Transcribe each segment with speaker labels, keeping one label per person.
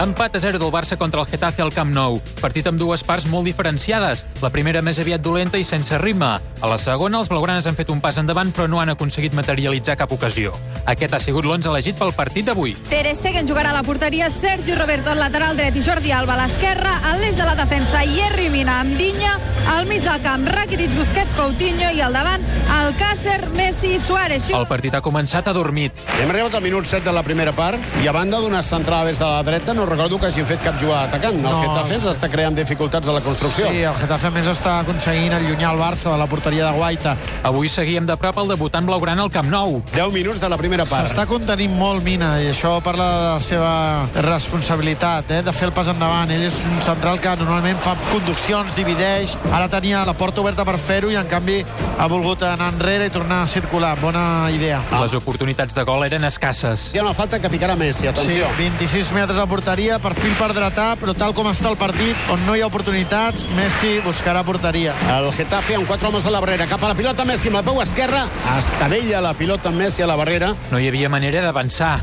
Speaker 1: Empat a 0 del Barça contra el Getafe al Camp Nou. Partit amb dues parts molt diferenciades. La primera més aviat dolenta i sense ritme. A la segona, els blaugranes han fet un pas endavant però no han aconseguit materialitzar cap ocasió. Aquest ha sigut l'11 elegit pel partit d'avui.
Speaker 2: Ter Stegen jugarà a la porteria, Sergi Roberto al lateral dret i Jordi Alba a l'esquerra, en l'eix de la defensa Jerry Mina amb Dinya, al mig del camp Rakitic, Busquets, Coutinho i al davant Alcácer, Messi i Suárez.
Speaker 1: El partit ha començat adormit.
Speaker 3: Hem arribat al minut 7 de la primera part i a banda d'unes centrades de la dreta no recordo que hagin fet cap jugada atacant. El
Speaker 4: No.
Speaker 3: no. Getafe ens està creant dificultats a la construcció.
Speaker 4: Sí, el Getafe a més està aconseguint allunyar el Barça de la porteria de Guaita.
Speaker 1: Avui seguíem de prop el debutant blaugrana al Camp Nou.
Speaker 3: 10 minuts de la primera part.
Speaker 4: S'està contenint molt Mina i això parla de la seva responsabilitat, eh? de fer el pas endavant. Ell és un central que normalment fa conduccions, divideix, ara tenia la porta oberta per fer-ho i en canvi ha volgut anar enrere i tornar a circular. Bona idea.
Speaker 1: Les oportunitats de gol eren escasses.
Speaker 3: Hi ha una falta que picarà Messi, atenció.
Speaker 4: Sí, 26 metres a porteria, perfil per dretar, però tal com està el partit, on no hi ha oportunitats, Messi buscarà porteria.
Speaker 3: El Getafe amb quatre homes a la barrera. Cap a la pilota Messi amb la peu esquerra. Estavella la pilota Messi a la barrera.
Speaker 1: No hi havia manera d'avançar.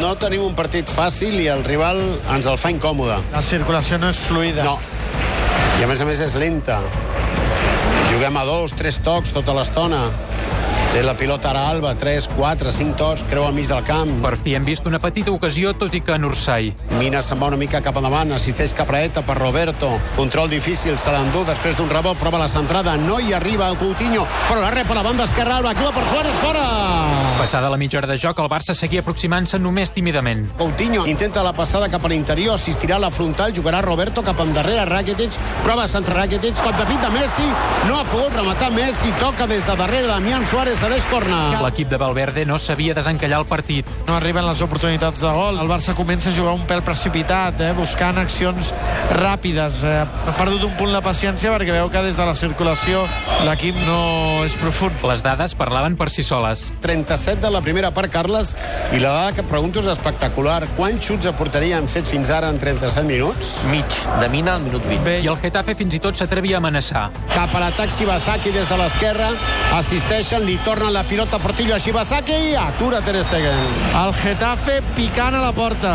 Speaker 3: No tenim un partit fàcil i el rival ens el fa incòmode.
Speaker 4: La circulació no és fluida.
Speaker 3: No. I a més a més és lenta. Juguem a dos, tres tocs tota l'estona. Té la pilota ara Alba, 3, 4, 5 tocs, creu al mig del camp.
Speaker 1: Per fi hem vist una petita ocasió, tot i que Nursai.
Speaker 3: Mina se'n va una mica cap endavant, assisteix Capraeta per Roberto. Control difícil, se l'endú després d'un rebot, prova la centrada, no hi arriba Coutinho, però la rep a la banda esquerra, Alba juga per Suárez, fora!
Speaker 1: Passada la mitja hora de joc, el Barça seguia aproximant-se només tímidament.
Speaker 3: Coutinho intenta la passada cap a l'interior, assistirà a la frontal, jugarà Roberto cap endarrere, Rakitic, prova a centre Rakitic, cop de pit de Messi, no ha pogut rematar Messi, toca des de darrere Damián Suárez, cedeix corna.
Speaker 1: L'equip de Valverde no sabia desencallar el partit.
Speaker 4: No arriben les oportunitats de gol. El Barça comença a jugar un pèl precipitat, eh? buscant accions ràpides. Eh? Ha perdut un punt la paciència perquè veu que des de la circulació l'equip no és profund.
Speaker 1: Les dades parlaven per si soles.
Speaker 3: 37 de la primera part, Carles, i la dada que et pregunto és espectacular. Quants xuts a porteria han fet fins ara en 37 minuts?
Speaker 5: Mig de mina al minut 20.
Speaker 1: I el Getafe fins i tot s'atrevia a amenaçar.
Speaker 3: Cap a l'atac Shibasaki des de l'esquerra, assisteixen, li tornen la pilota Portillo a Shibasaki i atura Ter Stegen.
Speaker 4: El Getafe picant a la porta.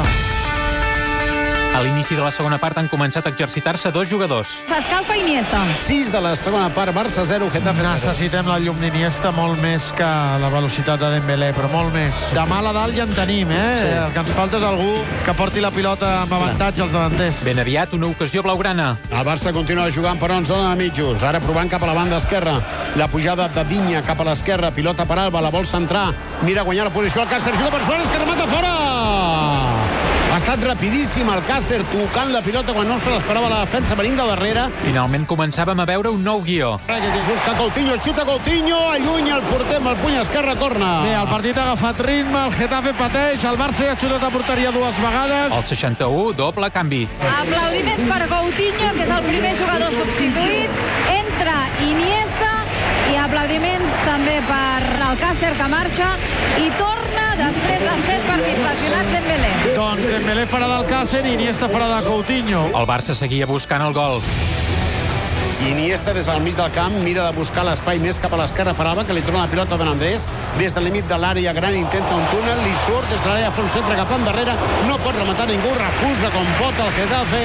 Speaker 1: A l'inici de la segona part han començat a exercitar-se dos jugadors.
Speaker 2: S'escalfa Iniesta.
Speaker 3: 6 de la segona part, Barça 0, Getafe 0.
Speaker 4: Necessitem la llum d'Iniesta molt més que la velocitat de Dembélé, però molt més. Demà a la dalt ja en tenim, eh? Sí. El que ens falta és algú que porti la pilota amb avantatge als davanters.
Speaker 1: Ben aviat, una ocasió blaugrana.
Speaker 3: El Barça continua jugant, però en zona de mitjos. Ara provant cap a la banda esquerra. La pujada de Dinya cap a l'esquerra. Pilota per Alba, la vol centrar. Mira a guanyar la posició. El Càcer juga per Suárez, que remata fora! Ha estat rapidíssim el Càcer tocant la pilota quan no se l'esperava la defensa venint de darrere.
Speaker 1: Finalment començàvem a veure un nou guió.
Speaker 3: Rakitic busca Coutinho, xuta Coutinho, allunya el porter amb el puny esquerre, corna.
Speaker 4: Bé, el partit ha agafat ritme, el Getafe pateix, el Barça ja ha xutat a porteria dues vegades.
Speaker 1: Al 61, doble canvi.
Speaker 2: Aplaudiments per Coutinho, que és el primer jugador substituït. Entra Iniesta i aplaudiments també per Alcácer, que marxa i torna després de set partits lesionats Dembélé.
Speaker 4: Doncs Dembélé farà del Càcer i Iniesta farà de Coutinho.
Speaker 1: El Barça seguia buscant el gol.
Speaker 3: Iniesta des del mig del camp mira de buscar l'espai més cap a l'esquerra per Alba, que li torna la pilota a Dan Andrés. Des del límit de l'àrea gran intenta un túnel, li surt des de l'àrea fa un centre cap endarrere, no pot rematar ningú, refusa com pot el Getafe.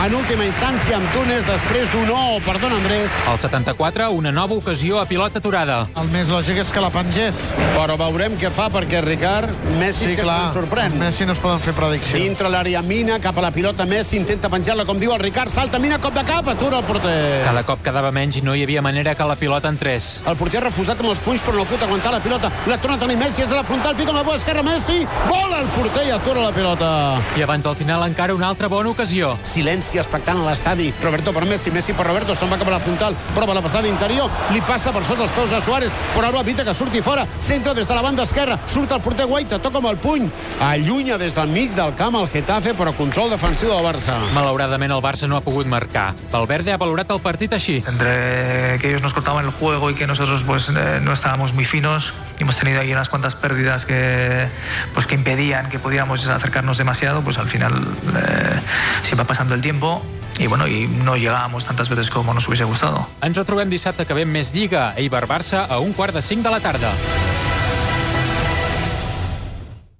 Speaker 3: En última instància amb Túnez, després d'un no per Don Andrés,
Speaker 1: Al 74, una nova ocasió a pilota aturada.
Speaker 4: El més lògic és que la pengés.
Speaker 3: però veurem què fa perquè Ricard Messi sí, sempre ens sorprèn.
Speaker 4: Messi no es poden fer prediccions.
Speaker 3: Dintre l'àrea Mina, cap a la pilota Messi, intenta penjar-la, com diu el Ricard, salta Mina, cop de cap, atura el porter.
Speaker 1: Cada cop quedava menys i no hi havia manera que la pilota entrés.
Speaker 3: El porter ha refusat amb els punys, però no pot aguantar la pilota. La torna a tenir Messi, és a la frontal, pica amb la bola esquerra, Messi, vola el porter i atura la pilota.
Speaker 1: I abans del final encara una altra bona ocasió.
Speaker 3: Silenci expectant a l'estadi. Roberto per Messi, Messi per Roberto, se'n va cap a la frontal, prova la passada interior, li passa per sota els peus a Suárez, però Alba evita que surti fora, centra des de la banda esquerra, surt el porter Guaita, toca amb el puny, allunya des del mig del camp el Getafe, però control defensiu del Barça.
Speaker 1: Malauradament, el Barça no ha pogut marcar. Valverde ha valorat el partit dit així.
Speaker 6: Entre que ellos nos cortaban el juego y que nosotros pues eh, no estábamos muy finos, y hemos tenido ahí unas cuantas pérdidas que pues que impedían que pudiéramos acercarnos demasiado, pues al final eh, se va pasando el tiempo y bueno, y no llegábamos tantas veces como nos hubiese gustado.
Speaker 1: Ens retrobem dissabte que ve amb més Lliga, Eibar-Barça, a un quart de cinc de la tarda.